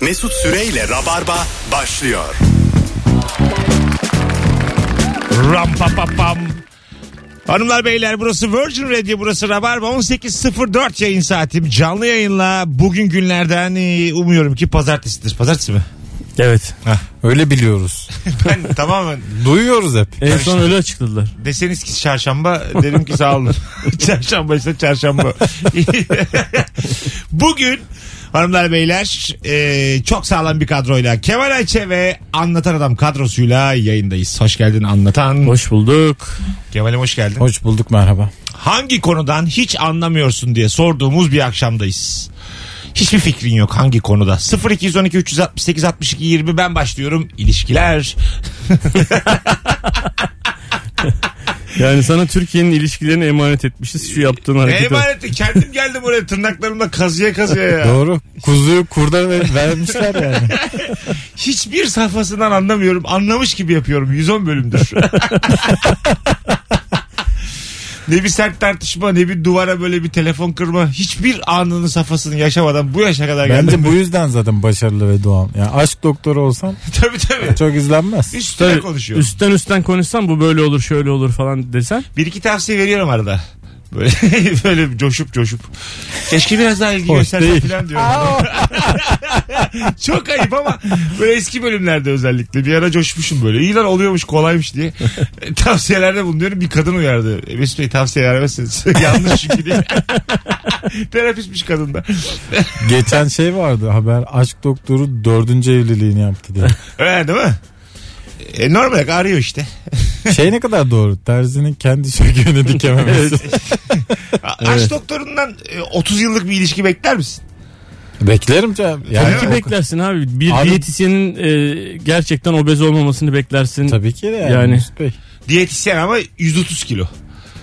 Mesut Süreyle Rabarba başlıyor. Ram pa pa pam. Hanımlar beyler burası Virgin Radio burası Rabarba 18.04 yayın saatim canlı yayınla bugün günlerden e, umuyorum ki pazartesidir. Pazartesi mi? Evet. Öyle biliyoruz. Ben tamamen Duyuyoruz hep. En son öyle açıkladılar. deseniz ki çarşamba derim ki sağ olun. çarşamba işte çarşamba. Bugün hanımlar beyler e, çok sağlam bir kadroyla Kemal Ayçe ve Anlatan Adam kadrosuyla yayındayız. Hoş geldin Anlatan. Hoş bulduk. Kemal'im hoş geldin. Hoş bulduk merhaba. hangi konudan hiç anlamıyorsun diye sorduğumuz bir akşamdayız. Hiçbir fikrin yok hangi konuda. 0212 368 62 20 ben başlıyorum. İlişkiler. Yani sana Türkiye'nin ilişkilerini emanet etmişiz. Şu yaptığın harekete. bak. Emanet kendim geldim oraya tırnaklarımla kazıya kazıya ya. Doğru. Kuzuyu kurda ver- vermişler yani. Hiçbir sayfasından anlamıyorum. Anlamış gibi yapıyorum. 110 bölümdür. ne bir sert tartışma ne bir duvara böyle bir telefon kırma. Hiçbir anının safhasını yaşamadan bu yaşa kadar Ben geldim. de bu yüzden zaten başarılı ve doğam. Yani aşk doktoru olsam tabii tabii. çok izlenmez. Üstüne Tabii, konuşuyor. üstten üstten konuşsan bu böyle olur şöyle olur falan desen. Bir iki tavsiye veriyorum arada. Böyle böyle coşup coşup. Keşke biraz daha ilgi Hoş göstersen değil. falan diyorum. Çok ayıp ama böyle eski bölümlerde özellikle bir ara coşmuşum böyle. İyi lan oluyormuş kolaymış diye. E, Tavsiyelerde bulunuyorum. Bir kadın uyardı. E, Mesut Bey tavsiye vermezsiniz. Yanlış çünkü diye. Terapistmiş kadın da. Geçen şey vardı haber aşk doktoru dördüncü evliliğini yaptı diye. Öyle değil mi? E, normal arıyor işte. Şey ne kadar doğru terzinin kendi şökünü dikememesi. A- Aşk doktorundan e, 30 yıllık bir ilişki bekler misin? Beklerim canım. Yani Tabii Ki o- beklersin abi. Bir Abi- diyetisyenin e, gerçekten obez olmamasını beklersin. Tabii ki de yani. Yani. Mesut Bey. Diyetisyen ama 130 kilo.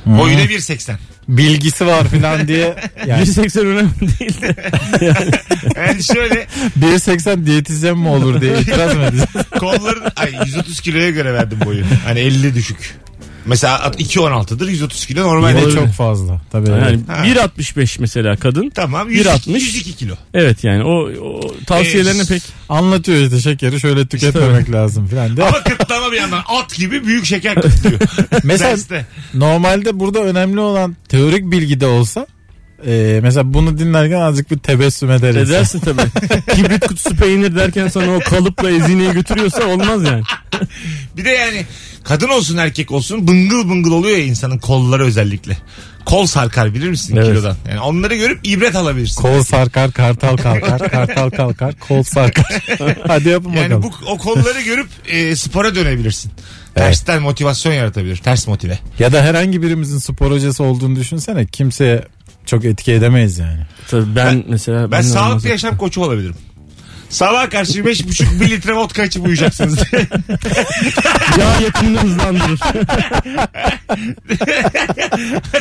Boyu da 1.80. Bilgisi var falan diye. Yani 180 önemli değil de. Yani şöyle 1.80 diyetisyen mi olur diye itiraz mı edeceğiz? Kolların ay 130 kiloya göre verdim boyu. Hani 50 düşük. Mesela at- 2.16'dır 130 kilo normal. Yine değil. çok fazla. Tabii. Yani Ha. 1.65 mesela kadın. Tamam 102, 1.60. 102 kilo. Evet yani o, o tavsiyelerine Ee, pek Anlatıyor işte şekeri şöyle tüketmemek lazım falan diye. Ama kıtlama bir yandan at gibi büyük şeker kıtlıyor. Mesela Derste. normalde burada önemli olan teorik bilgi de olsa e, mesela bunu dinlerken azıcık bir tebessüm eder insan. edersin tabii. Kibrit kutusu peynir derken sana o kalıpla ezineyi götürüyorsa olmaz yani. Bir de yani kadın olsun erkek olsun bıngıl bıngıl oluyor ya insanın kolları özellikle. Kol sarkar bilir misin Evet. kilodan? Yani onları görüp ibret alabilirsin. Kol sarkar, kartal kalkar, kartal kalkar, kol sarkar. Hadi yapın yani bakalım. bu o kolları görüp e, spora dönebilirsin. Tersten motivasyon yaratabilir. Ters motive. Ya da herhangi birimizin spor hocası olduğunu düşünsene kimseye çok etki edemeyiz yani. Tabii ben, Ben mesela de olmaz. sağlıklı yaşam koçu olabilirim. Sabah karşı 5,5 bir litre vodka içip uyuyacaksınız. Yağ yakımını hızlandırır.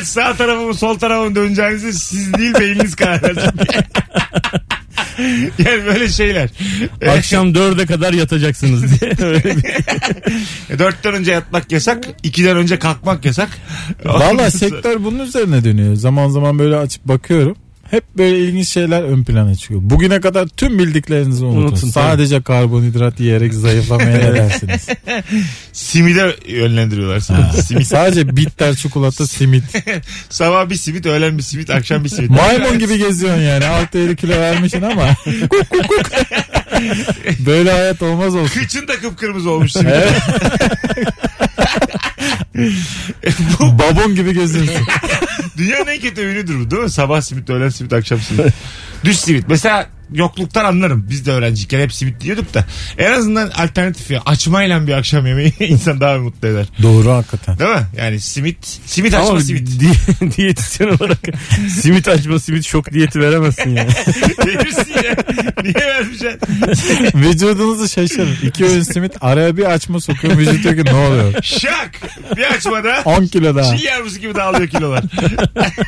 Sağ tarafımı sol tarafımı döneceğinizi siz değil beyniniz karar verecek. yani böyle şeyler. Akşam dörde kadar yatacaksınız diye. Öyle bir- E, Dörtten önce yatmak yasak. ikiden önce kalkmak yasak. Valla sektör bunun üzerine dönüyor. Zaman zaman böyle açıp bakıyorum. Hep böyle ilginç şeyler ön plana çıkıyor. Bugüne kadar tüm bildiklerinizi unutun. Unutun, tabii. Sadece karbonhidrat yiyerek zayıflamaya ne dersiniz? Simide yönlendiriyorlar seni. simit. Sadece bitter çikolata simit. Sabah bir simit, öğlen bir simit, akşam bir simit. Maymun gibi geziyorsun yani. 6-7 kilo vermişsin ama. Kuk, kuk, kuk. Böyle hayat olmaz olsun. Kıçın da kıpkırmızı olmuş simit. Evet. Babon gibi geziyorsun. Dünyanın en kötü öğünüdür bu değil mi? Sabah simit, öğlen simit, akşam simit. Düz simit. Mesela yokluktan anlarım. Biz de öğrenciyken hep simit yiyorduk da. En azından alternatif ya. Açmayla bir akşam yemeği insan daha mutlu eder. Doğru hakikaten. Değil mi? Yani simit. Simit açma Ama simit. di- diyetisyen olarak simit açma simit şok diyeti veremezsin yani. Verirsin ya. şey. Niye vermeyeceksin? Vücudunuzu şaşırın. İki öğün simit araya bir açma sokuyor. Vücut diyor ki ne oluyor? Şak. Bir açmada. 10 kilo daha. Çil yavrusu gibi dağılıyor kilolar.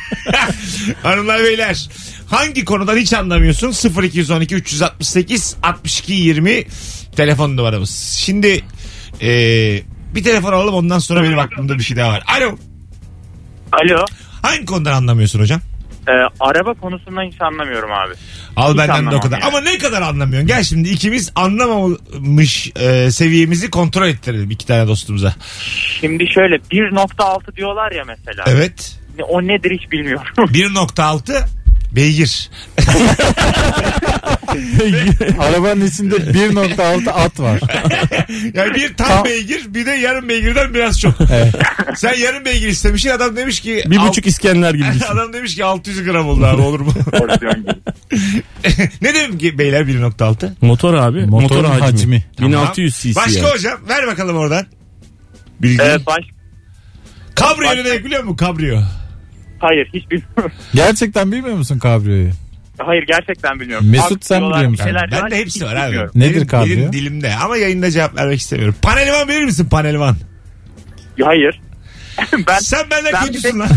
Hanımlar beyler. Hangi konudan hiç anlamıyorsun? 0212 368 62 20 telefon numaramız. Şimdi e, bir telefon alalım ondan sonra benim aklımda bir şey daha var. Alo. Alo. Hangi konudan anlamıyorsun hocam? Ee, araba konusundan hiç anlamıyorum abi. Al Hiç benden de o anlamam kadar. yani. Ama ne kadar anlamıyorsun. Gel şimdi ikimiz anlamamış e, seviyemizi kontrol ettirelim iki tane dostumuza. Şimdi şöyle 1.6 diyorlar ya mesela. Evet. O nedir hiç bilmiyorum. 1.6 beygir. Arabanın içinde 1.6 at var. Yani bir tam Tam- beygir bir de yarım beygirden biraz çok. Sen yarım beygir istemişsin adam demiş ki... Bir al- buçuk İskender gibi düşün. Adam demiş ki 600 gram oldu abi olur mu? Porsiyon gibi. ne demek ki beyler 1.6? Motor abi. Motor Motorun hacmi. hacmi. 1600 cc. Başka yani. hocam ver bakalım oradan. Bilgi. Ee, baş... Kabriyo baş- ne biliyor musun kabriyo? Hayır hiç bilmiyorum. Gerçekten bilmiyor musun kabriyoyu? Hayır gerçekten bilmiyorum. Mesut, Ak sen diyorlar, biliyor musun? şeyler Ben var, de hiç hepsi var abi. bilmiyorum. Nedir Benim- kabriyo? benim dilimde ama yayında cevap vermek istemiyorum. Panelvan verir misin panelvan? Hayır. ben Sen benden Ben bir kötüsün tek- lan.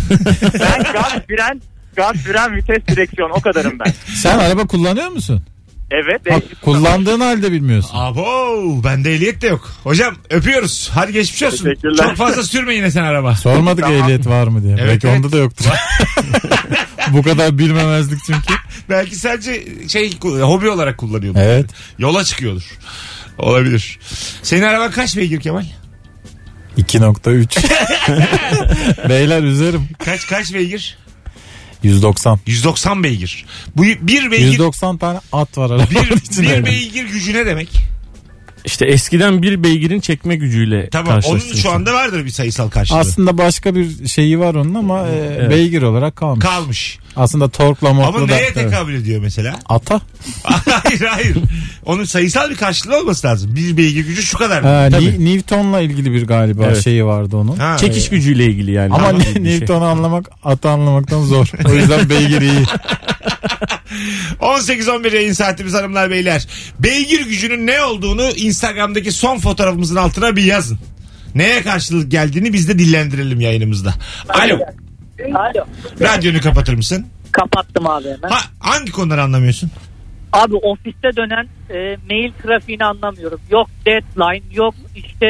ben gaz fren gaz fren vites direksiyon o kadarım ben. Sen araba kullanıyor musun? Evet. Bak, değişik- kullandığın halde bilmiyorsun. Abo bende ehliyet de yok. Hocam öpüyoruz. Hadi geçmiş olsun. Teşekkürler. Çok fazla sürme yine sen araba. Sormadık Tamam. ehliyet var mı diye. Evet, Belki evet. onda da yoktur. Bu kadar bilmemezlik çünkü. Belki sadece şey hobi olarak kullanıyordur. Evet. Yola çıkıyordur. Olabilir. Senin araban kaç beygir Kemal? 2.3. Beyler üzerim. Kaç kaç beygir? 190. 190 beygir. Bu bir beygir 190 tane at var arabanın bir, içinde. bir beygir gücü ne demek? İşte eskiden bir beygirin çekme gücüyle Tamam onun karşılaştırıyorsun. şu anda vardır bir sayısal karşılığı. Aslında başka bir şeyi var onun ama e, Evet. beygir olarak kalmış. kalmış. Aslında torkla Ama mokla da. neye Evet. tekabül ediyor mesela? Ata. hayır hayır. Onun sayısal bir karşılığı olması lazım. Bir beygir gücü şu kadar. Ha, Tabii. Ni- Newton'la ilgili bir galiba Evet. şeyi vardı onun. Ha. Çekiş gücüyle ilgili yani. Ama Tamam. Ni- Bir şey. Newton'u anlamak atı anlamaktan zor. O yüzden beygir iyi. 18-11 yayın saatimiz hanımlar beyler. Beygir gücünün ne olduğunu Instagram'daki son fotoğrafımızın altına bir yazın. Neye karşılık geldiğini biz de dillendirelim yayınımızda. Alo. Alo. Radyonu kapatır mısın? Kapattım abi hemen. Ha, hangi konuları anlamıyorsun? Abi ofiste dönen e, mail trafiğini anlamıyorum. Yok deadline, yok işte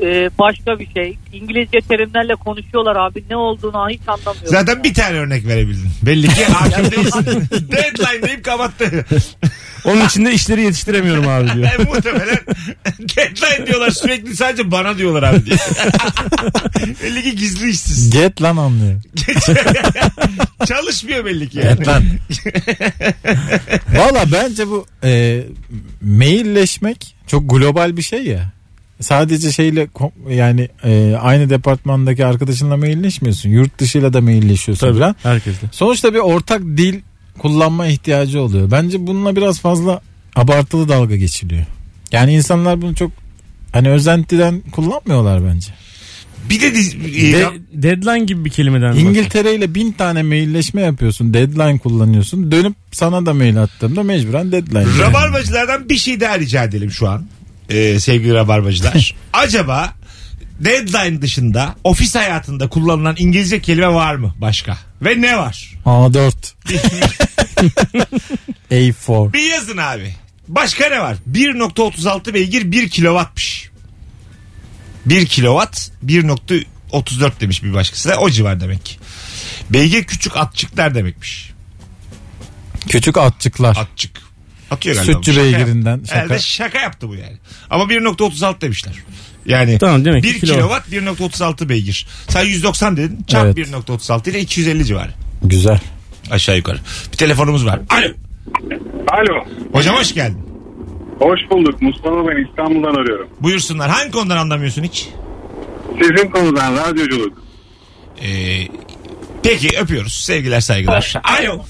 e, başka bir şey. İngilizce terimlerle konuşuyorlar abi. Ne olduğunu hiç anlamıyorum. Zaten bir tane örnek verebildin. Belli ki hakim değilsin. Deadline deyip kapattı. Onun için de işleri yetiştiremiyorum abi diyor. E, muhtemelen deadline diyorlar sürekli sadece bana diyorlar abi diye. belli ki gizli işsiz. Get lan anlıyor. Çalışmıyor belli ki yani. Valla bence bu e, mailleşmek çok global bir şey ya. Sadece şeyle ko- yani e, aynı departmandaki arkadaşınla mailleşmiyorsun. Yurt dışıyla da mailleşiyorsun Tabii. falan. Herkesle. Sonuçta bir ortak dil kullanma ihtiyacı oluyor. Bence bununla biraz fazla abartılı dalga geçiliyor. Yani insanlar bunu çok hani özentiden kullanmıyorlar bence. Bir de diz- e, De- deadline gibi bir kelimeden mi İngiltere ile bin tane mailleşme yapıyorsun. Deadline kullanıyorsun. Dönüp sana da mail attığımda mecburen deadline. yani. Rabarbacılardan bir şey daha rica edelim şu an. Ee, sevgili rabarbacılar. Acaba deadline dışında ofis hayatında kullanılan İngilizce kelime var mı başka? Ve ne var? A4. A4. Bir yazın abi. Başka ne var? 1.36 beygir 1 kilovatmış. 1 kilovat 1.34 demiş bir başkası da o civar demek. Beygir küçük atçıklar demekmiş. Küçük atçıklar. Atçık. Atıyor galiba. Sütçü Şaka yap- beygirinden. Şaka. Herhalde şaka yaptı bu yani. Ama 1.36 demişler. Yani Tamam, demek ki 1 kilowatt. kilowatt 1.36 beygir. Sen 190 dedin. Çarp Evet. 1.36 ile 250 civarı. Güzel. Aşağı yukarı. Bir telefonumuz var. Alo. Alo. Hocam hoş geldin. Hoş bulduk. Mustafa ben İstanbul'dan arıyorum. Buyursunlar. Hangi konudan anlamıyorsun hiç? Sizin konudan radyoculuk. Ee, peki öpüyoruz. Sevgiler saygılar. Alo.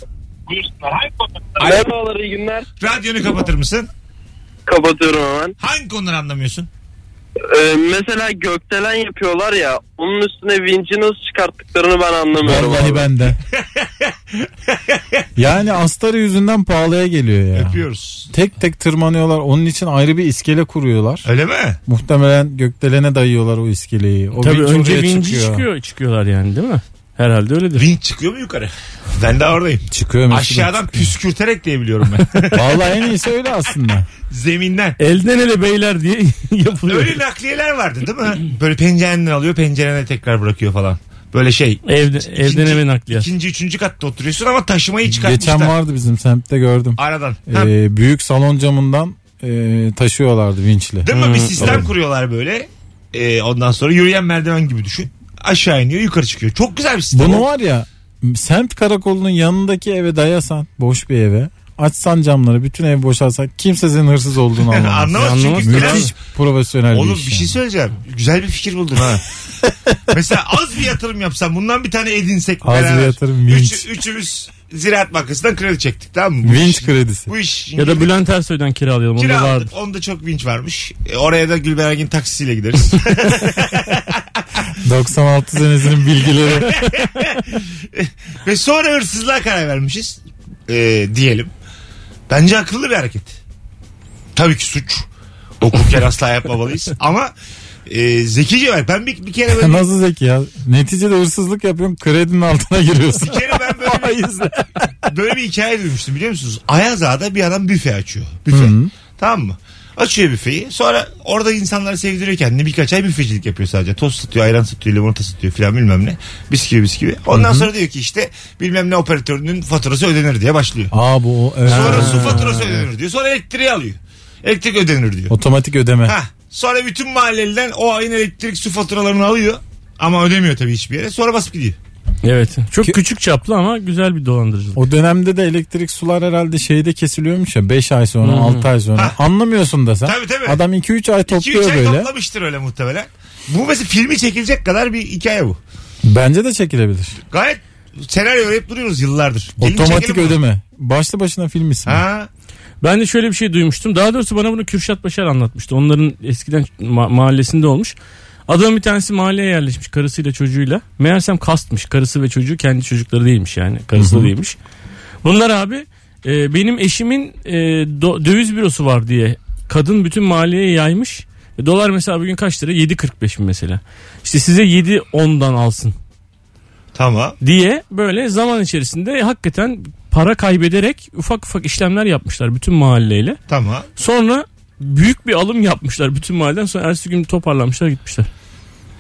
Merhabalar iyi günler. Radyonu kapatır mısın? Kapatıyorum hemen. Hangi konuları anlamıyorsun? Ee, mesela gökdelen yapıyorlar ya onun üstüne vinci nasıl çıkarttıklarını ben anlamıyorum. Vallahi abi. ben de. yani astarı yüzünden pahalıya geliyor ya. Öpüyoruz. Tek tek tırmanıyorlar. Onun için ayrı bir iskele kuruyorlar. Öyle mi? Muhtemelen gökdelene dayıyorlar o iskeleyi. O Tabii vinç önce oraya vinci çıkıyor. çıkıyorlar yani değil mi? Herhalde öyledir. Vinç çıkıyor mu yukarı? Ben de oradayım. Çıkıyor mesela. Aşağıdan püskürterek diyebiliyorum ben. Vallahi en iyisi öyle aslında. Zeminden. Elden ele beyler diye yapılıyor. Öyle nakliyeler vardı değil mi? Böyle pencerenden alıyor pencerene tekrar bırakıyor falan. Böyle şey. Evde, İkinci- evden eve nakliyat. İkinci, üçüncü katta oturuyorsun ama taşımayı çıkartmışlar. Geçen vardı bizim semtte gördüm. Aradan. Ha, Ee, büyük salon camından e, taşıyorlardı vinçle. Değil mi? Bir Hmm, sistem doğru. kuruyorlar böyle. Ee, ondan sonra yürüyen merdiven gibi düşün. Aşağı iniyor yukarı çıkıyor. Çok güzel bir sistem. Bunu var ya semt karakolunun yanındaki eve dayasan boş bir eve açsan camları bütün ev boşalsan kimse senin hırsız olduğunu anlamaz. Anlamaz Yani çünkü. Müthiş profesyonel bir Oğlum iş bir şey yani. söyleyeceğim. Güzel bir fikir buldun ha. Mesela az bir yatırım yapsam bundan bir tane edinsek Az bir yatırım, vinç. Üç- üçümüz Ziraat Bankası'ndan kredi çektik tamam mı? Bu Vinç iş- kredisi. Bu iş. Ya da Bülent Ersoy'dan kiralayalım. Onda Kira vardı. aldık. Onda çok vinç varmış. E, oraya da Gülben Ergin taksisiyle gideriz. 96 senesinin bilgileri. Ve sonra hırsızlığa karar vermişiz. E, diyelim. Bence akıllı bir hareket. Tabii ki suç. Hukuken asla yapmamalıyız. Ama e, zekice var. Ben bir, bir kere böyle Nasıl zeki ya? Neticede hırsızlık yapıyorsun kredinin altına giriyorsun. Bir kere ben böyle bir, böyle bir hikaye duymuştum biliyor musunuz? Ayaz Ağa'da bir adam büfe açıyor. Büfe. Tamam mı? Açıyor büfeyi. Sonra orada insanları sevdiriyor kendini. Birkaç ay büfecilik yapıyor sadece. Tost satıyor, ayran satıyor, limonata satıyor filan bilmem ne. Bisküvi bisküvi. Ondan sonra diyor ki işte bilmem ne operatörünün faturası ödenir diye başlıyor. Aa bu o. evet. Sonra su faturası ödenir diyor. Sonra elektriği alıyor. Elektrik ödenir diyor. Otomatik ödeme. Ha, sonra bütün mahalleliler o ayın elektrik su faturalarını alıyor. Ama ödemiyor tabii hiçbir yere. Sonra basıp gidiyor. Evet. Çok küçük çaplı ama güzel bir dolandırıcılık. O dönemde de elektrik sular herhalde şeyde kesiliyormuş ya 5 ay sonra Hı hı. 6 ay sonra. Ha. Anlamıyorsun da sen. Tabii, tabii. Adam 2-3 ay 2-3 topluyor ay böyle. toplamıştır öyle muhtemelen. Bu mesela filmi çekilecek kadar bir hikaye bu. Bence de çekilebilir. Gayet senaryo hep duruyoruz yıllardır. Gelin Otomatik çekelim bunu. ödeme. Başlı başına film ismi. Ha. Ben de şöyle bir şey duymuştum. Daha doğrusu bana bunu Kürşat Başar anlatmıştı. Onların eskiden ma- mahallesinde olmuş. Adamın bir tanesi mahalleye yerleşmiş karısıyla çocuğuyla. Meğersem kastmış. Karısı ve çocuğu kendi çocukları değilmiş yani. Karısı da değilmiş. Bunlar abi e, benim eşimin e, do- döviz bürosu var diye kadın bütün mahalleye yaymış. E, Dolar mesela bugün kaç lira? 7.45 mi mesela? İşte size 7.10'dan alsın Tamam. diye böyle zaman içerisinde hakikaten para kaybederek ufak ufak işlemler yapmışlar bütün mahalleyle. Tamam. Sonra büyük bir alım yapmışlar bütün mahalleden sonra ertesi gün toparlanmışlar gitmişler.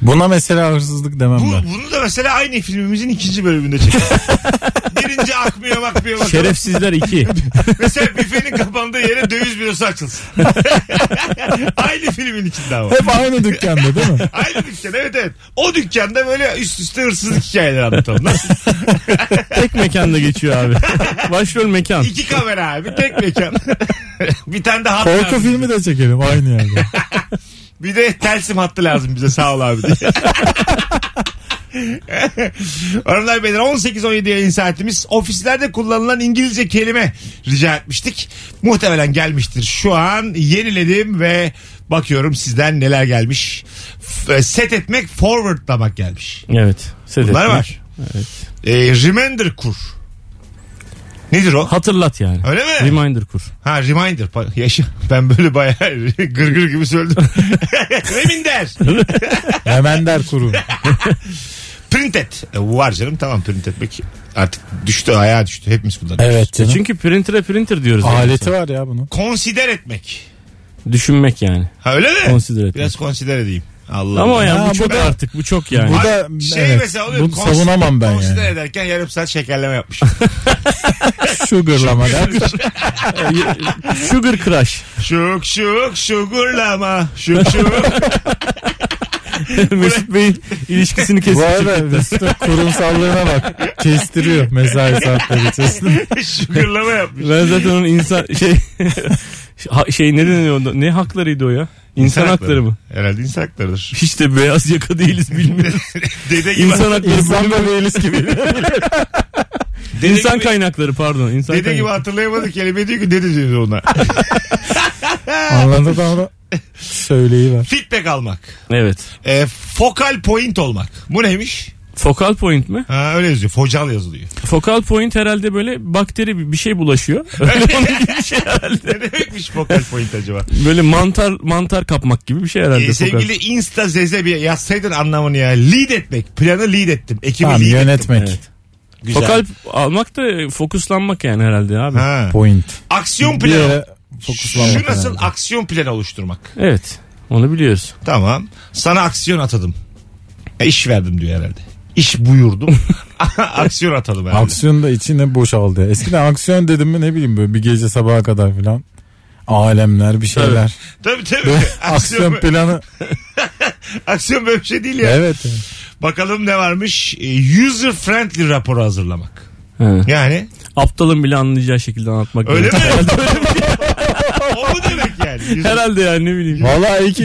Buna mesela hırsızlık demem Bu, ben. bunu da mesela aynı filmimizin ikinci bölümünde çekiyoruz. Birinci akmıyor bakmıyor bakalım. Şerefsizler 2. Mesela büfenin kapandığı yere döviz bürosu açılsın. aynı filmin içinde ama. Hep aynı dükkanda değil mi? Aynı dükkan evet evet. O dükkanda böyle üst üste hırsızlık hikayeleri anlatalım. Nasıl? Tek mekanda geçiyor abi. Başrol mekan. İki kamera abi tek mekan. bir tane de hat Korku lazım. filmi de çekelim aynı yerde. Bir de telsim hattı lazım bize sağ ol abi diye. Hanımlar beyler 18-17 yayın saatimiz. Ofislerde kullanılan İngilizce kelime rica etmiştik. Muhtemelen gelmiştir. Şu an yeniledim ve bakıyorum sizden neler gelmiş. F- set etmek, forwardlamak gelmiş. Evet. Set Bunlar etme. var. Ee, remember kur. Nedir o? Hatırlat yani. Öyle mi? Reminder kur. E Ha reminder. Pa- Yaşa. Ben böyle bayağı gırgır gibi söyledim. reminder. Hemen der kurum. Print et. E, var canım tamam print etmek. Artık düştü ayağa düştü. Hepimiz kullanıyoruz. Evet canım. Çünkü printer'e printer diyoruz. yani. Aleti var ya bunun. Consider etmek. Düşünmek yani. Ha öyle mi? Consider etmek. Biraz consider edeyim. Allah Ama Allah. yani Ha, bu bu çok da- artık. Bu çok yani. Bu Abi, da şey evet, mesela oluyor. bunu Consider- savunamam ben Consider yani. ederken yarım saat şekerleme yapmış. Sugarlama der. Sugar crush. şuk şuk şugurlama. Şuk şuk. Mesut Bey'in ilişkisini Bu kesip arada Mesut'un kurumsallığına bak. Kestiriyor mesai saatleri içerisinde. şugurlama yapmış. Ben zaten onun insan şey ha- şey ne deniyor onda? Ne haklarıydı o ya? İnsan, hakları. mı? Herhalde insan haklarıdır. Hiç de beyaz yaka değiliz bilmiyoruz. Dede gibi. İnsan hakları İnsan da değiliz gibi. dede İnsan gibi- kaynakları pardon. İnsan Dede gibi kaynakları. hatırlayamadı kelime diyor ki dede diyor ona. Anladı da onu söyleyiver. Feedback almak. Evet. E, focal point olmak. Bu neymiş? Focal point mi? Ha, öyle yazıyor. Focal yazılıyor. Focal point herhalde böyle bakteri bir- bir şey bulaşıyor. Onun gibi bir şey herhalde. ne demekmiş focal point acaba? Böyle mantar mantar kapmak gibi bir şey herhalde. Ee, focal. sevgili Insta Zeze bir yazsaydın anlamını ya. Lead etmek. Planı lead ettim. Ekibi Tamam lead yönetmek. Evet. ettim. Güzel. Focal almak da fokuslanmak yani herhalde abi. Ha. Point. Aksiyon Bir planı. yere fokuslanmak. Şu nasıl önemli. aksiyon planı oluşturmak. Evet. Onu biliyoruz. Tamam. Sana aksiyon atadım. E, iş verdim diyor herhalde. iş buyurdum. Aksiyon atalım herhalde. Aksiyon da içine boşaldı. Eskiden aksiyon dedim mi ne bileyim böyle bir gece sabaha kadar filan. Alemler bir şeyler. Tabii tabii. Böyle aksiyon, aksiyon planı. aksiyon böyle bir şey değil ya. evet. Bakalım ne varmış? E, User friendly raporu hazırlamak. He. Yani Aptalın bile anlayacağı şekilde anlatmak. öyle mi? gerekiyor. o mu demek yani? User- Herhalde yani ne bileyim. Vallahi iyi ki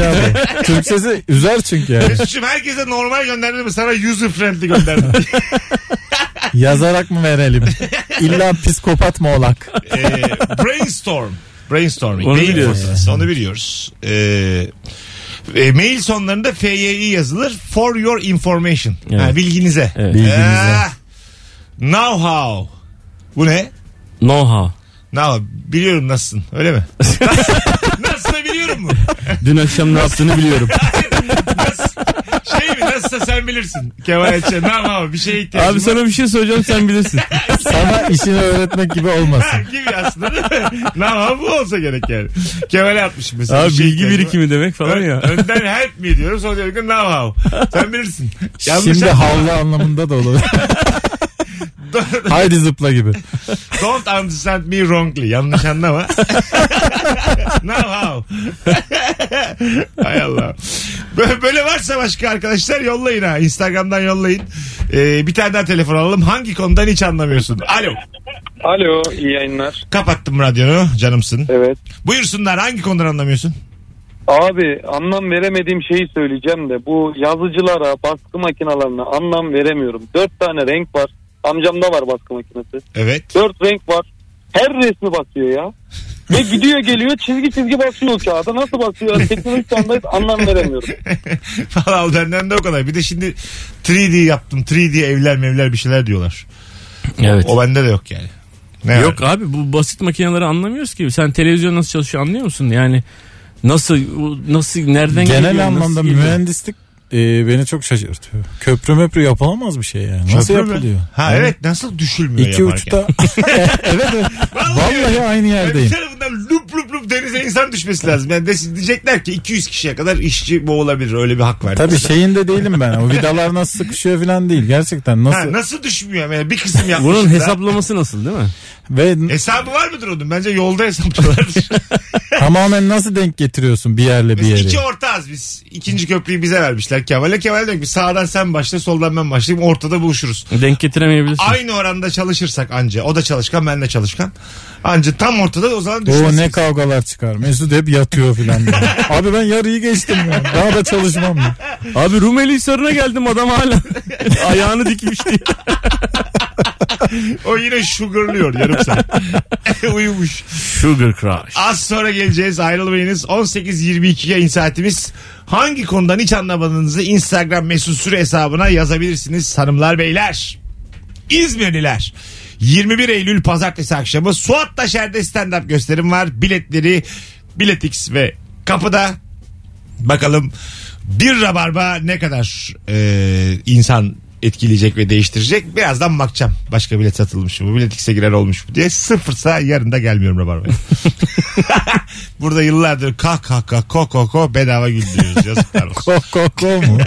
abi. Türkçesi üzer çünkü yani. Mesut'cum herkese normal gönderdim mi? Sana user friendly gönderdim. Yazarak mı verelim? İlla psikopat mı olak? e, brainstorm. Brainstorming. Onu mail biliyoruz. fırtınası. Onu biliyoruz. E, e, mail sonlarında FYI yazılır. For your information. Evet. Ha, bilginize. Evet. Bilginize. Ah, now how. Bu ne? No how. Now biliyorum nasılsın. Öyle mi? Nasılsa biliyorum mu? Dün akşam ne yaptığını biliyorum. Şey mi? Nasılsa sen bilirsin. Kemal Etçe. Now how. Bir şeye ihtiyacım Abi var. sana bir şey söyleyeceğim sen bilirsin. Sana işini öğretmek gibi Ha, olmasın. gibi aslında değil mi? Now how bu olsa gerek yani. Kemal'e atmışım mesela. Abi Bir şeye bilgi ihtiyacım var. birikimi demek falan Ö- ya. Önden help mi diyoruz? O diyor ki now how. Sen bilirsin. Yanlış Şimdi Şimdi havlu anlamında da olur. Haydi zıpla gibi. Don't understand me wrongly. Yanlış anlama. now how. Hay Allah. Bö- Böyle varsa başka arkadaşlar yollayın ha. Instagram'dan yollayın. Ee, bir tane daha telefon alalım. Hangi konudan hiç anlamıyorsun? Alo. Alo iyi yayınlar. Kapattım radyonu. Canımsın. Evet. Buyursunlar. Hangi konudan anlamıyorsun? Abi anlam veremediğim şeyi söyleyeceğim de bu yazıcılara baskı makinalarına anlam veremiyorum. Dört tane renk var. Amcamda var baskı makinesi. Evet. Dört renk var. Her resmi basıyor ya. Ve gidiyor geliyor çizgi çizgi basıyor o kağıda. Nasıl basıyor? Teknolojik standart anlam veremiyorum. Valla benden de o kadar. Bir de şimdi 3D yaptım. 3D evler mevler bir şeyler diyorlar. Evet. O bende de yok yani. Ne var? Yok abi bu basit makineleri anlamıyoruz ki. Sen televizyon nasıl çalışıyor anlıyor musun? Yani nasıl bu- nasıl nereden geliyor? Genel nasıl anlamda geliyor? mühendislik e, beni çok şaşırtıyor. Köprü möprü yapılamaz bir şey yani. Nasıl Köprü mü? yapılıyor? Ha evet nasıl düşülmüyor İki yaparken? uçta. evet, evet. öyle. şey- Vallahi aynı Yani yerdeyim. tarafından lup lup lup denize insan düşmesi lazım. Yani desin, diyecekler ki 200 kişiye kadar işçi boğulabilir. Öyle bir hak var. Tabii şeyinde değilim ben. O vidalar nasıl sıkışıyor falan değil. Gerçekten Ha, nasıl? nasıl? düşmüyor? Yani bir kısım yapmışlar. Bunun hesaplaması nasıl değil mi? Ve Hesabı var mıdır onun? Bence yolda hesaplıyorlar. tamamen nasıl denk getiriyorsun bir yerle bir Biz yere? iki ortağız biz. İkinci köprüyü bize vermişler Kemal'e. Kemal diyor ki sağdan sen başla soldan ben başlayayım ortada buluşuruz. Denk getiremeyebilirsin. Aynı oranda çalışırsak anca. O da çalışkan ben de çalışkan. Anca tam ortada o zaman düşürürsün. O ne kavgalar çıkar. Mesut hep yatıyor filan. diyor. Abi ben yarıyı geçtim ya. Daha da çalışmam. ya. Abi Rumeli Hisarı'na geldim adam hala. Ayağını dikmiş diye. O yine sugarlıyor yarım saat. Uyumuş. Sugar Crush. Az sonra geleceğiz ayrılmayınız. 18.22 yayın saatimiz. Hangi konudan hiç anlamadığınızı Instagram mesut süre hesabına yazabilirsiniz hanımlar beyler. İzmirliler. 21 Eylül pazartesi akşamı Suat Taşer'de stand-up gösterim var. Biletleri Biletix ve kapıda. Bakalım bir rabarba ne kadar e, insan etkileyecek ve değiştirecek. Birazdan bakacağım. Başka bilet satılmış mı? Bilet X'e girer olmuş mu diye. Sıfırsa yarın da gelmiyorum rabarbaya. Burada yıllardır kah kah kah ko ko ko bedava güldürüyoruz. Yazıklar olsun. Ko ko ko mu?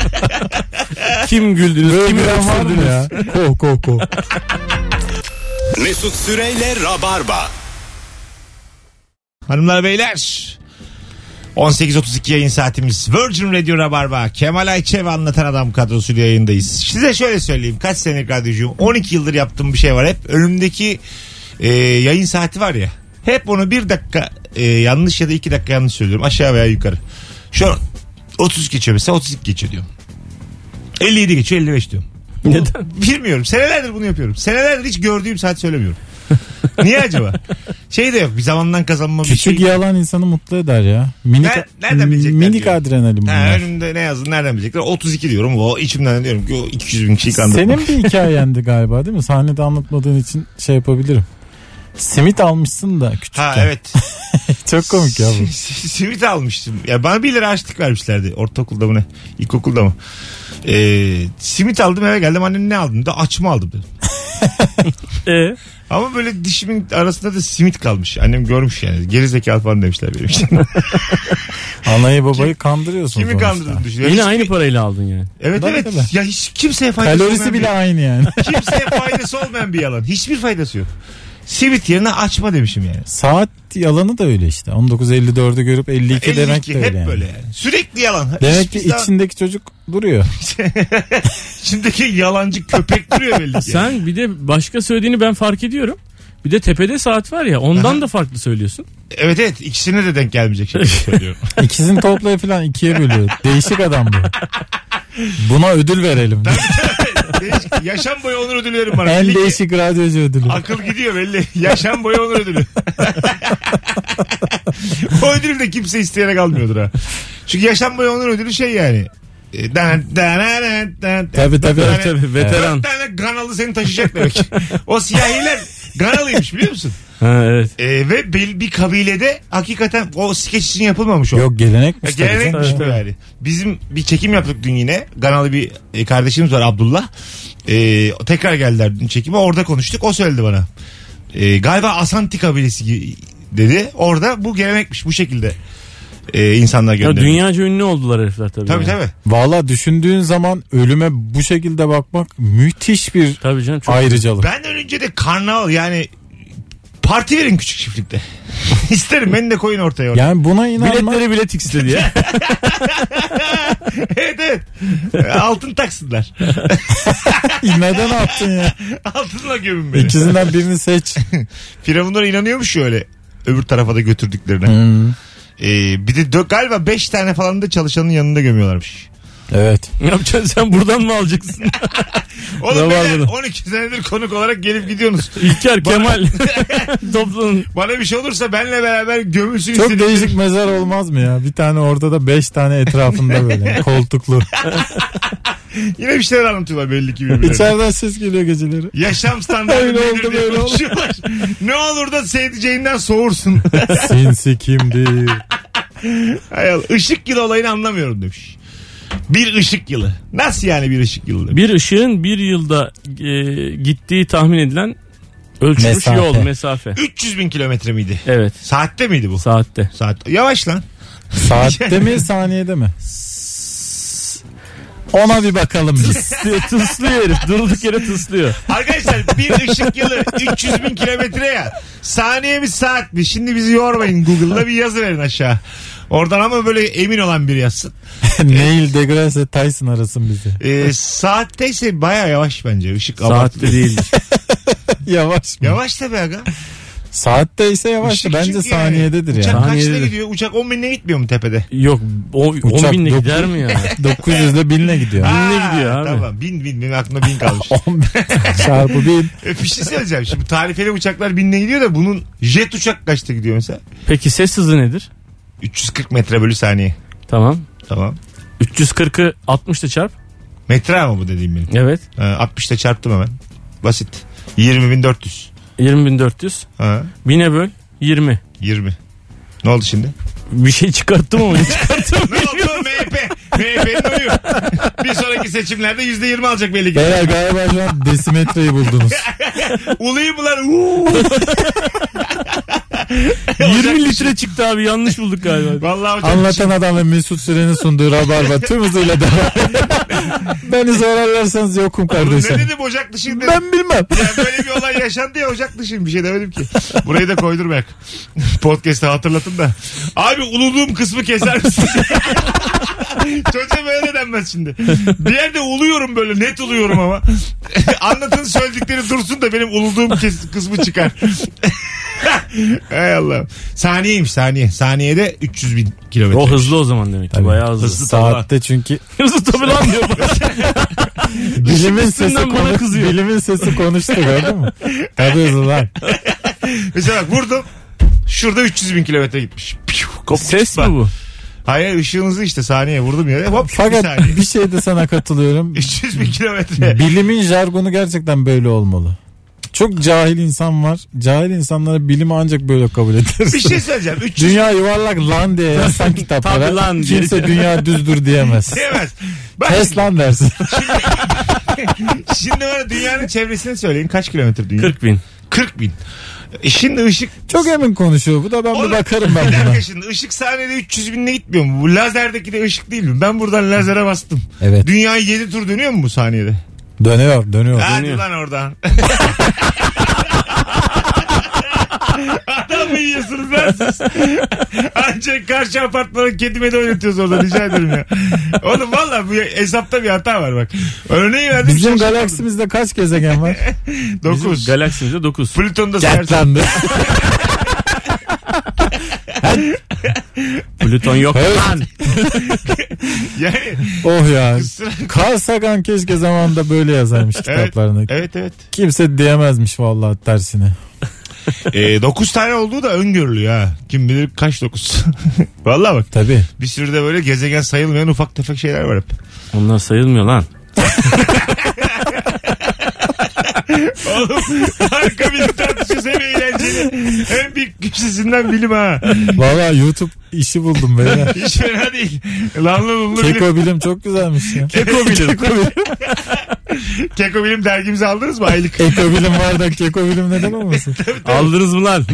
Kim güldünüz? Kim Kimi var mı öksürdünüz? ya? Ko ko ko. Mesut Süreyle Rabarba. Hanımlar beyler 18.32 yayın saatimiz Virgin Radio Rabarba Kemal Ayçe ve Anlatan Adam kadrosuyla yayındayız. Size şöyle söyleyeyim kaç senelik radyocuyum 12 yıldır yaptığım bir şey var hep önümdeki e, yayın saati var ya hep onu bir dakika e, yanlış ya da iki dakika yanlış söylüyorum aşağı veya yukarı. Şu an 30 geçiyor mesela 32 geçiyor diyorum. 57 geçiyor 55 diyorum. Neden? Bilmiyorum. Senelerdir bunu yapıyorum. Senelerdir hiç gördüğüm saat söylemiyorum. Niye acaba? Şey de yok. Bir zamandan kazanma bir şey. Küçük yalan insanı mutlu eder ya. Minik, Ner- nereden bilecekler minik diyor. adrenalin Ha, bunlar. önümde ne yazdın nereden bilecekler? 32 diyorum. O içimden diyorum ki o 200 bin kişiyi kandırdım. Senin bir hikayendi galiba değil mi? Sahnede anlatmadığın için şey yapabilirim. Simit almışsın da küçükken. Ha evet. Çok komik ya bu. Simit almıştım. Ya bana 1 lira açlık vermişlerdi. Ortaokulda mı ne? İlkokulda mı? Ee, simit aldım eve geldim. Annem ne aldın? Da açma aldım dedim. E, Ama böyle dişimin arasında da simit kalmış. Annem görmüş yani. Geri zekalı falan demişler benim için. Anayı babayı kandırıyorsun. Kimi sonuçta. kandırdın düşünüyor. yine Hiç- aynı parayla aldın yani. Evet Tabii, evet. tabii. Ya hiç kimseye faydası Kalorisi olmayan bile aynı yani. bir- kimseye faydası olmayan bir yalan. Hiçbir faydası yok. Simit yerine açma demişim yani. Saat yalanı da öyle işte. 19.54'ü görüp 52, 52 demek de hep öyle. yani. böyle yani. Sürekli yalan. Demek Hiçbir ki zaman- içindeki çocuk duruyor. içimdeki yalancı köpek duruyor belli ki. Sen bir de başka söylediğini ben fark ediyorum. Bir de tepede saat var ya ondan Aha. da farklı söylüyorsun. Evet evet ikisine de denk gelmeyecek şekilde söylüyorum. İkisini toplayıp falan ikiye bölüyor. Değişik adam bu. Buna ödül verelim. Değişik- yaşam boyu onur ödülü verin bana. Belli en ki değişik radyocu ödülü. Akıl gidiyor belli. Yaşam boyu onur ödülü. o ödülü de kimse isteyerek almıyordur ha. Çünkü yaşam boyu onur ödülü şey yani. E, Dan, dan, dan, dan, Tabii, tabii, Dört tabii, tane- veteran. Dört tane Ganalı seni taşıyacak demek. o siyahiler Ganalıymış biliyor musun? Ha, evet. E, ve bir, bir kabilede hakikaten o skeç için yapılmamış o. Yok Ya gelenekmiş. tabii Gelenekmiş canım. bu yani. Bizim bir çekim yaptık dün yine. Ganalı bir e, kardeşimiz var Abdullah. E, tekrar geldiler dün çekime. Orada konuştuk. O söyledi bana. E, galiba Asanti kabilesi gi- dedi. Orada bu gelenekmiş bu şekilde e, insanlar Ya gönderiyor. dünyaca ünlü oldular herifler tabii. Tabii yani. tabii. Valla düşündüğün zaman ölüme bu şekilde bakmak müthiş bir Tabii canım çok. ayrıcalık. Ben ölünce de karnaval yani parti verin küçük çiftlikte. İsterim beni de koyun ortaya. orada. Yani buna inanmak Biletlere bilet istedi ya. evet evet. E, Altın taksınlar. neden attın ya? Altınla gömün beni. İkisinden birini seç. Firavunlara inanıyormuş ya öyle öbür tarafa da götürdüklerine. Hmm. Ee, bir de dö- galiba 5 tane falan da çalışanın yanında gömüyorlarmış. Evet. ne yapacaksın sen buradan mı alacaksın? Oğlum Ne var beyler, bunun? 12 senedir konuk olarak gelip gidiyorsunuz. İlker Kemal toplanın. Bana bir şey olursa benle beraber gömülsün Çok istediğiniz- değişik mezar olmaz mı ya? Bir tane orada da beş tane etrafında böyle koltuklu. Yine bir şeyler anlatıyorlar belli ki birbirlerine. İçeriden ses geliyor geceleri. Yaşam standartı Öyle nedir oldu, diye böyle oldu. konuşuyorlar. ne olur da sevdiceğinden soğursun. Sinsi kimdir? Hay Allah. Işık yılı olayını anlamıyorum demiş. Bir ışık yılı. Nasıl yani bir ışık yılı? demiş. Bir ışığın bir yılda e, gittiği tahmin edilen ölçülmüş Mesafe. yol mesafe. 300 bin kilometre miydi? Evet Saatte miydi bu? saatte. Saat. Yavaş lan. Saatte mi saniyede mi? Ona bir bakalım biz. Tıslıyor, tıslıyor herif durduk yere tıslıyor. Arkadaşlar bir ışık yılı 300 bin kilometre ya. Saniye mi saat mi? Şimdi bizi yormayın. Google'da bir yazı verin aşağı. Oradan ama böyle emin olan biri yazsın. Neil deGrasse Tyson arasın bizi. Ee, saatteyse baya yavaş bence. Işık abartılı. Saatte değildir. Yavaş mı? Yavaş tabii aga. Saatte ise yavaş da Işık bence çünkü saniyededir Uçak ya. kaçta Saniyededir. gidiyor? Uçak 10 bine gitmiyor mu tepede? Yok o, 10 Uçak binle dokuz- gider mi ya? 900 ile 1000 gidiyor. Aa, gidiyor abi. Tamam bin bin. Benim aklımda bin kalmış. 10 çarpı 1000. E, bir şey söyleyeceğim. Şimdi tarifeli uçaklar binle gidiyor da bunun jet uçak kaçta gidiyor mesela? Peki ses hızı nedir? 340 metre bölü saniye. Tamam. Tamam. 340'ı 60'ta çarp. Metre ama bu dediğim benim. Evet. Ha, 60'ta Ee, çarptım hemen. Basit. 20.400. 20.400. Ha, 1000'e böl 20. 20. Ne oldu şimdi? Bir şey çıkarttım ama ne çıkarttım. ne oldu MHP? MHP'nin oyu. Bir sonraki seçimlerde %20 alacak belli ki. Beyler galiba şu an desimetreyi buldunuz. Ulayım bunlar. Uuu. 20 litre çıktı abi yanlış bulduk galiba. Vallahi hocam. Anlatan adam ve Mesut Süren'in sunduğu Rabarba tüm hızıyla devam ediyor. Beni sorarlarsanız yokum Ne kardeşim. dedim ocak dışı dedim. Ben bilmem. Ya böyle bir olay yaşandı ya ocak dışı bir şey demedim ki. Burayı da koydurmayak. Podcast'te hatırlatın da. Abi uluduğum kısmı keser misin? Çocuğa böyle denmez şimdi. Bir yerde uluyorum böyle net uluyorum ama. Anlatın söyledikleri dursun da benim uluduğum kes- kısmı çıkar. Hay Allah. Saniyeymiş saniye. Saniyede 300 bin kilometre. O hızlı o zaman demek ki bayağı hızlı. Saatte çünkü Hızlı tabii lan diyor. bilimin sesi, üstünden bana konuş, kızıyor. bilimin sesi konuştu gördün mü? Tabii hızlı lan. Mesela bak vurdum. Şurada 300 bin kilometre gitmiş. Piu, kopmuş. Ses mi bu? Hayır ışığınızı işte saniye vurdum yere. Hop bir Fakat saniye. bir şeyde sana katılıyorum. 300 bin kilometre. Bilimin jargonu gerçekten böyle olmalı. Çok cahil insan var. Cahil insanlara bilimi ancak böyle kabul ederiz. Bir şey söyleyeceğim. 300 Dünya yuvarlak lan diye yazsan kitaplara Tabii lan diye. kimse dünya düzdür diyemez. diyemez. Bak Kes lan dersin. Şimdi bana dünyanın çevresini söyleyin. Kaç kilometre dünya? 40, 40 bin. bin. E şimdi ışık Çok emin konuşuyor bu da ben Oğlum, bir bakarım ben bir buna. dakika şimdi ışık saniyede 300 binle gitmiyor mu? Bu lazerdeki de ışık değil mi? Ben buradan lazere bastım. Evet Dünyayı 7 tur dönüyor mu bu saniyede? dönüyor dönüyor. Hadi dönüyor. lan oradan. Adam mı yiyorsunuz lan siz? Ancak karşı apartmanın kedime de oynatıyoruz orada rica ederim ya. Oğlum valla bu hesapta bir hata var bak. Örneği verdim. Bizim galaksimizde kaç gezegen var? 9. Bizim galaksimizde 9. Plüton'da sayarsan. Gatlandı. Plüton yok. Evet. Yani, oh ya. kusura- Carl Sagan keşke zamanında böyle yazarmış kitaplarını. evet evet. Kimse diyemezmiş vallahi tersine. E, 9 tane olduğu da öngörülüyor ha. Kim bilir kaç 9. Valla bak Tabii. bir sürü de böyle gezegen sayılmayan ufak tefek şeyler var hep. Onlar sayılmıyor lan. Oğlum harika bir tartışıyoruz hem eğlenceli hem bir kimsesinden bilim ha. Vallahi YouTube işi buldum böyle. Hiç fena değil. Lanlı lunlu bilim. Keko bilim çok güzelmiş ya. Keko bilim. Keko bilim. Keko bilim dergimizi aldınız mı aylık? Eko bilim var da keko bilim neden olmasın? Aldınız mı lan?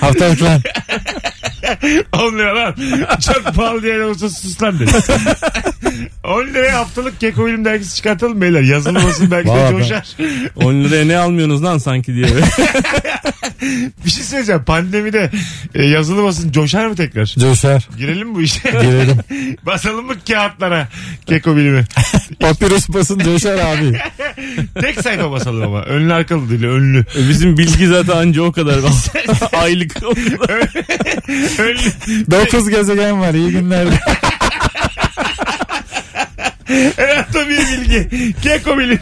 Haftalık lan. E- 10 lira lan. Çok pahalı diyen olsa sus lan dedi. 10 liraya haftalık Keko bilim dergisi çıkartalım beyler. Yazılı basın belki de Vallahi ben- coşar. 10 liraya ne almıyorsunuz lan sanki diye. Bir şey söyleyeceğim. Pandemide e, yazılı basın coşar mı tekrar? Coşar. Girelim mi bu işe? Girelim. Basalım mı kağıtlara Keko bilimi? Papyrus basın coşar abi. Tek sayfa basalım ama. Önlü arkalı değil önlü. Bizim bilgi zaten anca o kadar. Aylık o kadar. Önlü. 9 gezegen var iyi günler. Anatomi bilgi. Keko bilim.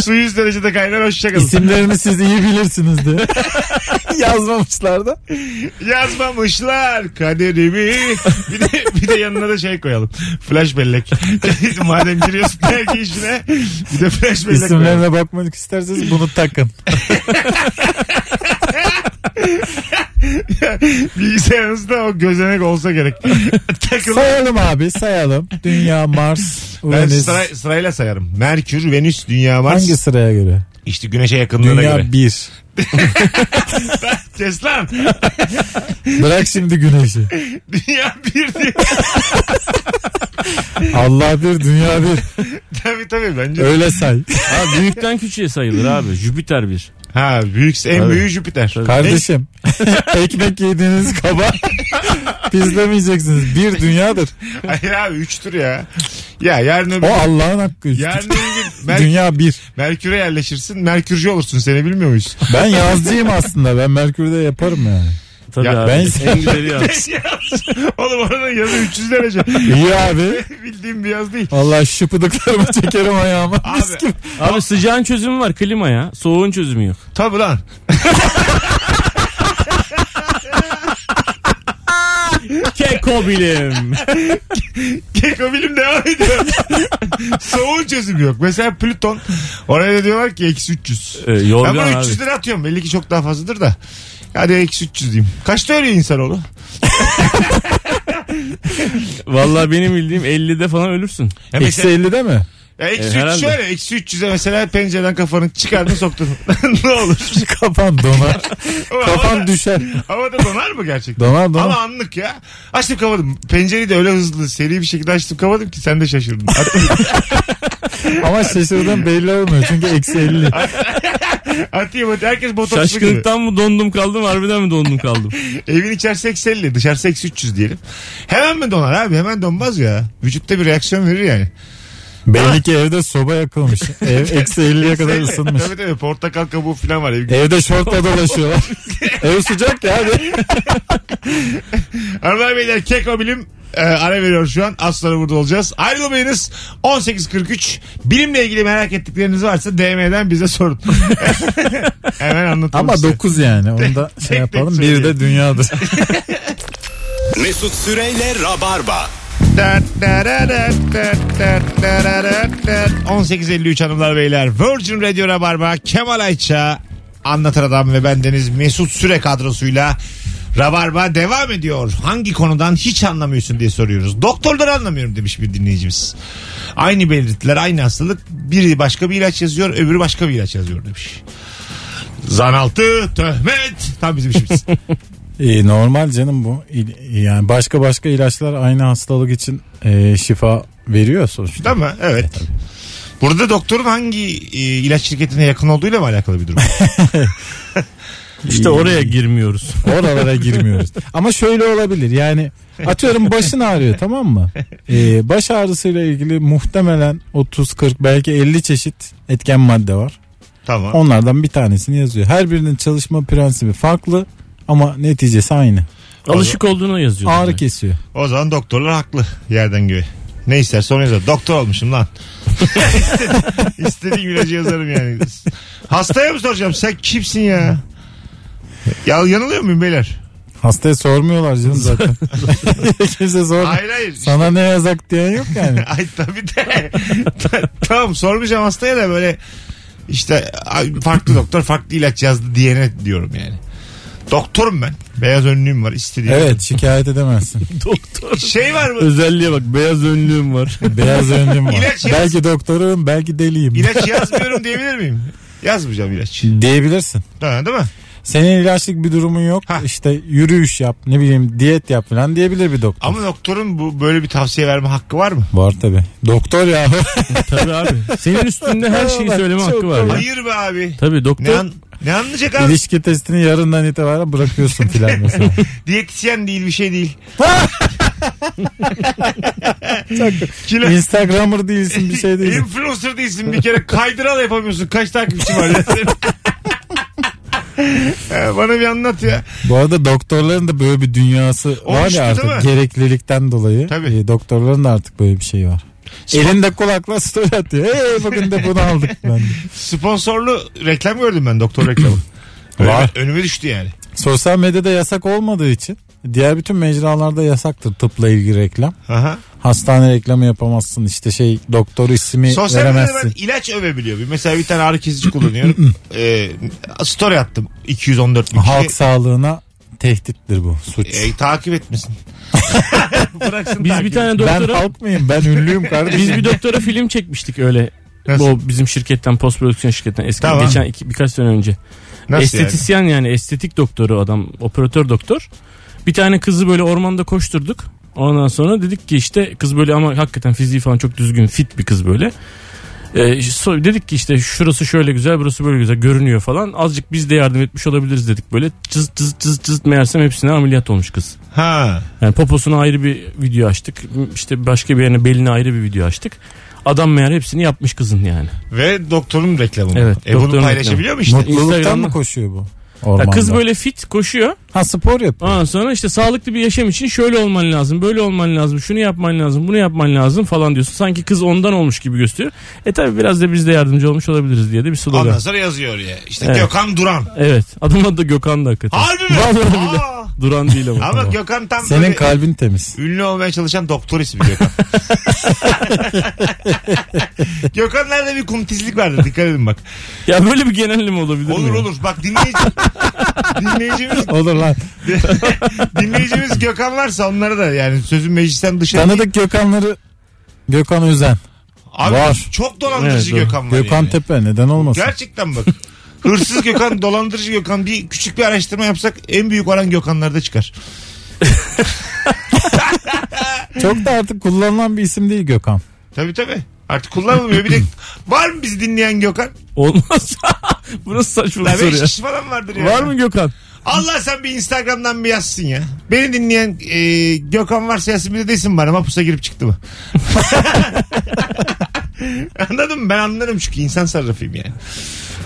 Su 100 derecede kaynar hoşçakalın. İsimlerini siz iyi bilirsiniz diye. Yazmamışlar da. Yazmamışlar kaderimi. Bir de, bir de yanına da şey koyalım. Flash bellek. Madem giriyorsun belki işine. Bir de flash bellek koyalım. İsimlerine bakmak isterseniz bunu takın. Bilgisayarınızda o gözenek olsa gerek. Takılı. Sayalım abi sayalım. Dünya, Mars, Ben Uranüs. sıra, sırayla sayarım. Merkür, Venüs, Dünya, Mars. Hangi sıraya göre? İşte güneşe yakınlığına göre. Dünya 1. Kes lan. Bırak şimdi güneşi. Dünya bir diyor. Allah bir, dünya bir. tabii tabii bence. Öyle say. Ha, büyükten küçüğe sayılır abi. Jüpiter bir. Ha büyük en Tabii. büyüğü Jüpiter. Kardeşim ekmek yediğiniz kaba pislemeyeceksiniz. Bir dünyadır. Hayır abi 3'tür ya. Ya yarın öbür O Allah'ın hakkı. yarın öbür gün Mer- Dünya bir. Merkür'e yerleşirsin. Merkürcü olursun seni bilmiyor muyuz? Ben yazcıyım aslında. Ben Merkür'de yaparım yani. Tabii Ya abi. e- ben- en güzeli ya. Oğlum oranın yazı 300 derece. İyi abi. Bildiğim bir yaz değil. Vallahi şıpıdıklarımı çekerim ayağıma. Mis gibi. Abi sıcağın çözümü var klima ya. Soğuğun çözümü yok. Tabii lan. Keko bilim. Keko bilim devam ediyor. Soğuğun çözümü yok. Mesela Plüton oraya da diyorlar ki eksi 300. Ee, Ben yorgan buna abi. 300 lira atıyorum. Belli ki çok daha fazladır da. Hadi eksi 300 diyeyim. Kaçta ölüyor insanoğlu? Vallahi benim bildiğim 50'de falan ölürsün. Ya Eksi mesela- 50'de mi? Ya eksi E, 300 herhalde. şöyle. Eksi 300'e mesela pencereden kafanı çıkardın soktun. ne olur. Kafan donar. Ama Kafan havada- düşer. Havada donar mı gerçekten? Donar Ama donar. anlık ya. Açtım kapadım. Pencereyi de öyle hızlı seri bir şekilde açtım kapadım ki sen de şaşırdın. At- Ama şaşırdığım belli olmuyor. Çünkü eksi 50. Atayım hadi herkes botokslu gibi. Şaşkınlıktan mı dondum kaldım harbiden mi dondum kaldım? Evin içerisi eksi 50 dışarısı eksi 300 diyelim. Hemen mi donar abi hemen donmaz ya. Vücutta bir reaksiyon verir yani. Belli ki evde soba yakılmış. Ev eksi 50'ye kadar ısınmış. Tabii tabii portakal kabuğu falan var. Ev- Evde şortla dolaşıyorlar. Ev sıcak ya hadi. Hanımlar beyler keko bilim e, ara veriyor şu an. Az sonra burada olacağız. Ayrılmayınız. 18.43 bilimle ilgili merak ettikleriniz varsa DM'den bize sorun. hemen anlatalım Ama size. 9 yani. Onu da tek şey yapalım. tek Bir söyleyeyim. de dünyadır. Mesut Süreyle Rabarba. 18.53 hanımlar beyler Virgin Radio Rabarba Kemal Ayça Anlatır Adam ve bendeniz Mesut Süre kadrosuyla Rabarba devam ediyor. Hangi konudan hiç anlamıyorsun diye soruyoruz. Doktorları anlamıyorum demiş bir dinleyicimiz. Aynı belirtiler, aynı hastalık. Biri başka bir ilaç yazıyor, öbürü başka bir ilaç yazıyor demiş. Zanaltı, töhmet. Tam bizim işimiz. E, normal canım bu. İl- Yani başka başka ilaçlar aynı hastalık için e, şifa veriyor sonuçta. Değil mi? Evet. Burada doktorun hangi e, ilaç şirketine yakın olduğuyla mı alakalı bir durum? İşte oraya girmiyoruz. Oralara girmiyoruz. Ama şöyle olabilir yani atıyorum başın ağrıyor tamam mı? Ee, baş ağrısıyla ilgili muhtemelen 30-40 belki 50 çeşit etken madde var. tamam. Onlardan bir tanesini yazıyor. Her birinin çalışma prensibi farklı ama neticesi aynı. Alışık olduğuna yazıyor. Ağrı kesiyor. O zaman doktorlar haklı yerden göğe. Ne isterse onu yazar. Doktor olmuşum lan. İstediğim- İstediğim ilacı yazarım yani. Hastaya mı soracağım? Sen kimsin ya? Ya yanılıyor muyum beyler? Hastaya sormuyorlar canım zaten. Kimse sormuyor. Hayır hayır. Sana ne yazak diyen yok yani. Ay tabii de. Ta- tamam sormayacağım hastaya da böyle işte ay, farklı doktor farklı ilaç yazdı diyene diyorum yani. Doktorum ben. Beyaz önlüğüm var istediğim. Evet şikayet edemezsin. Doktor. Şey var mı? Özelliğe bak beyaz önlüğüm var. Beyaz önlüm var. İlaç yaz. belki doktorum belki deliyim. İlaç yazmıyorum diyebilir miyim? Yazmayacağım ilaç. Diyebilirsin. Ha, değil mi? Senin ilaçlık bir durumun yok. Ha. İşte yürüyüş yap, ne bileyim diyet yap falan diyebilir bir doktor. Ama doktorun bu böyle bir tavsiye verme hakkı var mı? Var tabi. Doktor ya. Tabii abi. Senin üstünde her şeyi Bak, söyleme çok hakkı var ya. Hayır be abi. Tabii Ne, doktor an, ne anlayacak abi? İlişki testini yarından itibaren bırakıyorsun filan mesela. Diyetisyen değil bir şey değil. Kilo, Instagrammer değilsin bir şey değilsin. influencer değilsin bir kere kaydıral yapamıyorsun. Kaç takipçi var ya senin? Ha, Bana bir anlat ya. Bu arada doktorların da böyle bir dünyası var Oluştu ya değil artık mi? gereklilikten dolayı. Tabii. E, doktorların da artık böyle bir şeyi var. Elinde kulakla story atıyor. Hey bakın da bunu aldık ben. de. Sponsorlu reklam gördüm ben doktor reklamı. Var. Önüme, önüme düştü yani. Sosyal medyada yasak olmadığı için diğer bütün mecralarda yasaktır tıpla ilgili reklam. Aha. Hastane reklamı yapamazsın işte şey doktor ismi Sosyal medyada ben veremezsin. ilaç övebiliyorum. Mesela bir tane ağrı kesici kullanıyorum. ee, story attım 214 bin Halk sağlığına tehdittir bu suç. E, takip etmesin. Bıraksın biz takip bir ben tane doktora halk mıyım ben ünlüyüm kardeşim. biz bir doktora film çekmiştik öyle. Nasıl? Bu bizim şirketten post prodüksiyon şirketten eski Tamam. geçen iki, birkaç sene önce. Nasıl Estetisyen yani? estetik doktoru adam operatör doktor. Bir tane kızı böyle ormanda koşturduk. Ondan sonra dedik ki işte kız böyle ama hakikaten fiziği falan çok düzgün fit bir kız böyle. Ee, işte so- dedik ki işte şurası şöyle güzel burası böyle güzel görünüyor falan. Azıcık biz de yardım etmiş olabiliriz dedik böyle. Cız cız cız cız meğersem hepsine ameliyat olmuş kız. yani? Ha. Yani poposuna ayrı bir video açtık. İşte başka bir yerine beline ayrı bir video açtık. Adam meğer hepsini yapmış kızın yani. Ve doktorun reklamı. Evet, E bunu doktorun paylaşabiliyor mu işte? Mutluluktan Instagram'da- mı koşuyor bu? Ya Ormanda. kız böyle fit koşuyor. ha spor yapıyor. Ondan sonra işte sağlıklı bir yaşam için şöyle olman lazım, böyle olman lazım, şunu yapman lazım, bunu yapman lazım falan diyorsun. Sanki kız ondan olmuş gibi gösteriyor. E tabi biraz da biz de yardımcı olmuş olabiliriz diye de bir slogan. Ondan sonra yazıyor ya. İşte Evet. Gökhan Duran. Evet. Adamın adı da Gökhan da hakikaten. Harbi mi? Vallahi bile. Aa. Duran değil ama. Ama Gökhan tam Senin böyle kalbin temiz. ünlü olmaya çalışan doktor ismi Gökhan. Gökhan'larda bir kumtizlik vardır. Dikkat edin bak. Ya böyle bir genelleme olabilir mi? Olur ya? olur. Bak dinleyici, dinleyicimiz, Olur lan. dinleyicimiz Gökhan varsa onlara da yani sözün meclisten dışarı değil. Tanıdık Gökhan'ları Gökhan Özen. Abi var. çok dolandırıcı Evet, doğru. Gökhan var. Gökhan yani. Tepe neden olmasın? Gerçekten bak. Hırsız Gökhan, dolandırıcı Gökhan bir küçük bir araştırma yapsak en büyük oran Gökhanlarda çıkar. Çok da artık kullanılan bir isim değil Gökhan. Tabii tabii. Artık kullanılmıyor. Bir de var mı bizi dinleyen Gökhan? Olmaz. Burası saçma bir La soru beş ya. kişi falan vardır ya. Var mı Gökhan? Allah sen bir Instagram'dan bir yazsın ya. Beni dinleyen e, Gökhan varsa yazsın bir de desin bana mapusa girip çıktı mı? Anladın mı? Ben anlarım çünkü insan sarrafıyım yani.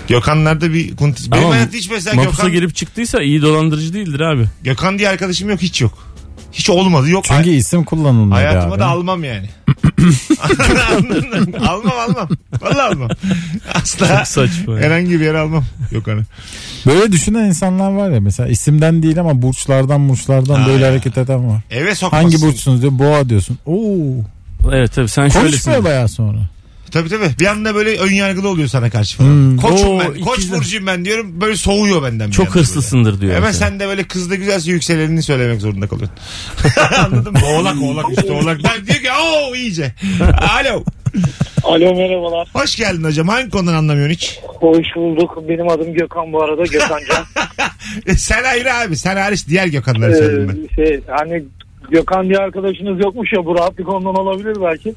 Gökhanlarda bir kuntiz. Benim Ama hayatta hiç mesela Mapusa Gökhan, girip çıktıysa iyi dolandırıcı değildir abi. Gökhan diye arkadaşım yok hiç yok. Hiç olmadı yok. Çünkü isim kullanılmıyor Hayatıma abi. da almam yani. Anladın mı? almam almam. Vallahi almam. Asla. Çok saçma. ya. Herhangi bir yere almam. Yok hani. Böyle düşünen insanlar var ya mesela isimden değil ama burçlardan burçlardan Ha böyle ya. hareket eden var. Eve sokmazsın. Hangi burçsunuz diyor boğa diyorsun. Oo. Evet tabii sen şöylesin. Konuşmuyor bayağı sonra. Tabii tabii. Bir anda böyle ön yargılı oluyor sana karşı falan. Hmm. Koçum Oo, ben. Koç ikizler. burcuyum ben diyorum. Böyle soğuyor benden. bir Çok anda hırslısındır diyor. Böyle. Hemen mesela. sen de böyle kız da güzelse yükselenini söylemek zorunda kalıyorsun. Anladın mı? Oğlak oğlak işte oğlak. Ben diyor ki ooo iyice. Alo. Alo merhabalar. Hoş geldin hocam. Hangi konudan anlamıyorsun hiç? Hoş bulduk. Benim adım Gökhan bu arada. Gökhan Can. E, sen ayrı abi. Sen hariç diğer Gökhanları söyledim ben. Ee, şey, hani Gökhan diye arkadaşınız yokmuş ya. Bu rahatlık ondan olabilir belki.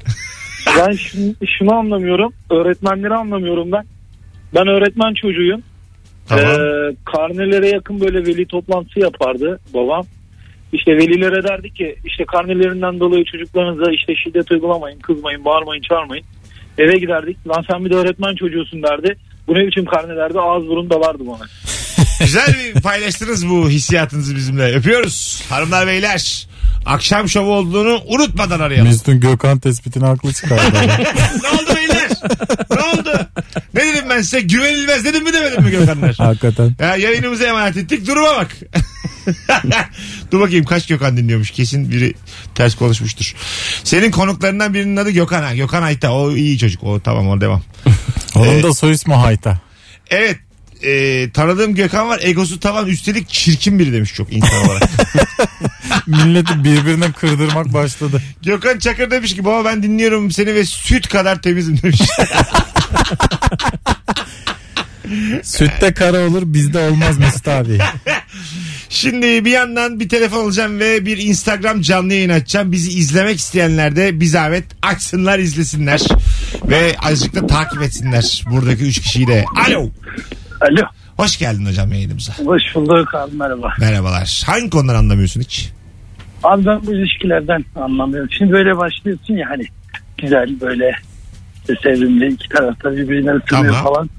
ben şunu, şunu anlamıyorum. Öğretmenleri anlamıyorum ben. Ben öğretmen çocuğuyum. Tamam. Ee, karnelere yakın böyle veli toplantısı yapardı babam. İşte velilere derdi ki işte karnelerinden dolayı çocuklarınıza işte şiddet uygulamayın, kızmayın, bağırmayın, çağırmayın. Eve giderdik. Lan sen bir de öğretmen çocuğusun derdi. Bu ne biçim karne derdi. Ağız burun dalardı bana. Güzel bir paylaştınız bu hissiyatınızı bizimle. Öpüyoruz. Hanımlar beyler. Akşam şovu olduğunu unutmadan arayalım. Mesut'un Gökhan tespitini haklı çıkardı. ne oldu beyler? Ne oldu? Ne dedim ben size? Güvenilmez dedim mi demedim mi Gökhanlar? Hakikaten. Ya yayınımıza emanet ettik. Duruma bak. Dur bakayım kaç Gökhan dinliyormuş. Kesin biri ters konuşmuştur. Senin konuklarından birinin adı Gökhan. Ha. Gökhan Ayta. O iyi çocuk. O tamam o devam. Onun da soy ismi Hayta. Evet. E, tanıdığım Gökhan var. Egosu tavan üstelik çirkin biri demiş çok insan olarak. Milleti birbirine kırdırmak başladı. Gökhan Çakır demiş ki baba ben dinliyorum seni ve süt kadar temizim demiş. Sütte kara olur bizde olmaz Mesut abi. Şimdi bir yandan bir telefon alacağım ve bir Instagram canlı yayın açacağım. Bizi izlemek isteyenler de bir zahmet açsınlar izlesinler. Ve azıcık da takip etsinler buradaki üç kişiyi de. Alo. Alo. Hoş geldin hocam yayınımıza. Hoş bulduk abi merhaba. Merhabalar. Hangi konudan anlamıyorsun hiç? Abi ben bu ilişkilerden anlamıyorum. Şimdi böyle başlıyorsun ya hani güzel böyle işte sevimli iki tarafta birbirine ısınıyor Tamam. falan.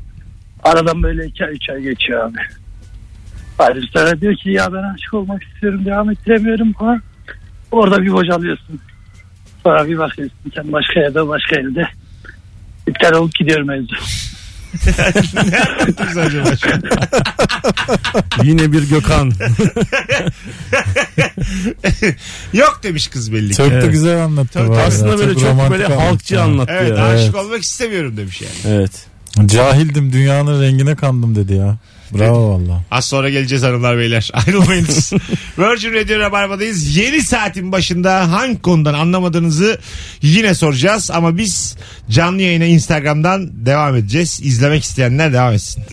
Aradan böyle iki ay üç ay geçiyor abi. Ayrıca sana diyor ki ya ben aşık olmak istiyorum devam ettiremiyorum falan. Orada bir bocalıyorsun. Sonra bir bakıyorsun sen başka yerde başka yerde. İptal olup gidiyor mevzu. ne anlattınız acaba şu an? Yine bir Gökhan. Yok demiş kız belli ki. Çok da Evet. güzel anlattı. Tabii, bu arada. Aslında böyle çok romantik böyle anlattı. halkçı anlattı Evet, ya. aşık olmak istemiyorum demiş yani. Evet. Cahildim dünyanın rengine kandım dedi ya. Bravo valla. Az sonra geleceğiz hanımlar beyler. Ayrılmayınız. Virgin Radio Rabarba'dayız. Yeni saatin başında hangi konudan anlamadığınızı yine soracağız. Ama biz canlı yayına Instagram'dan devam edeceğiz. İzlemek isteyenler devam etsin.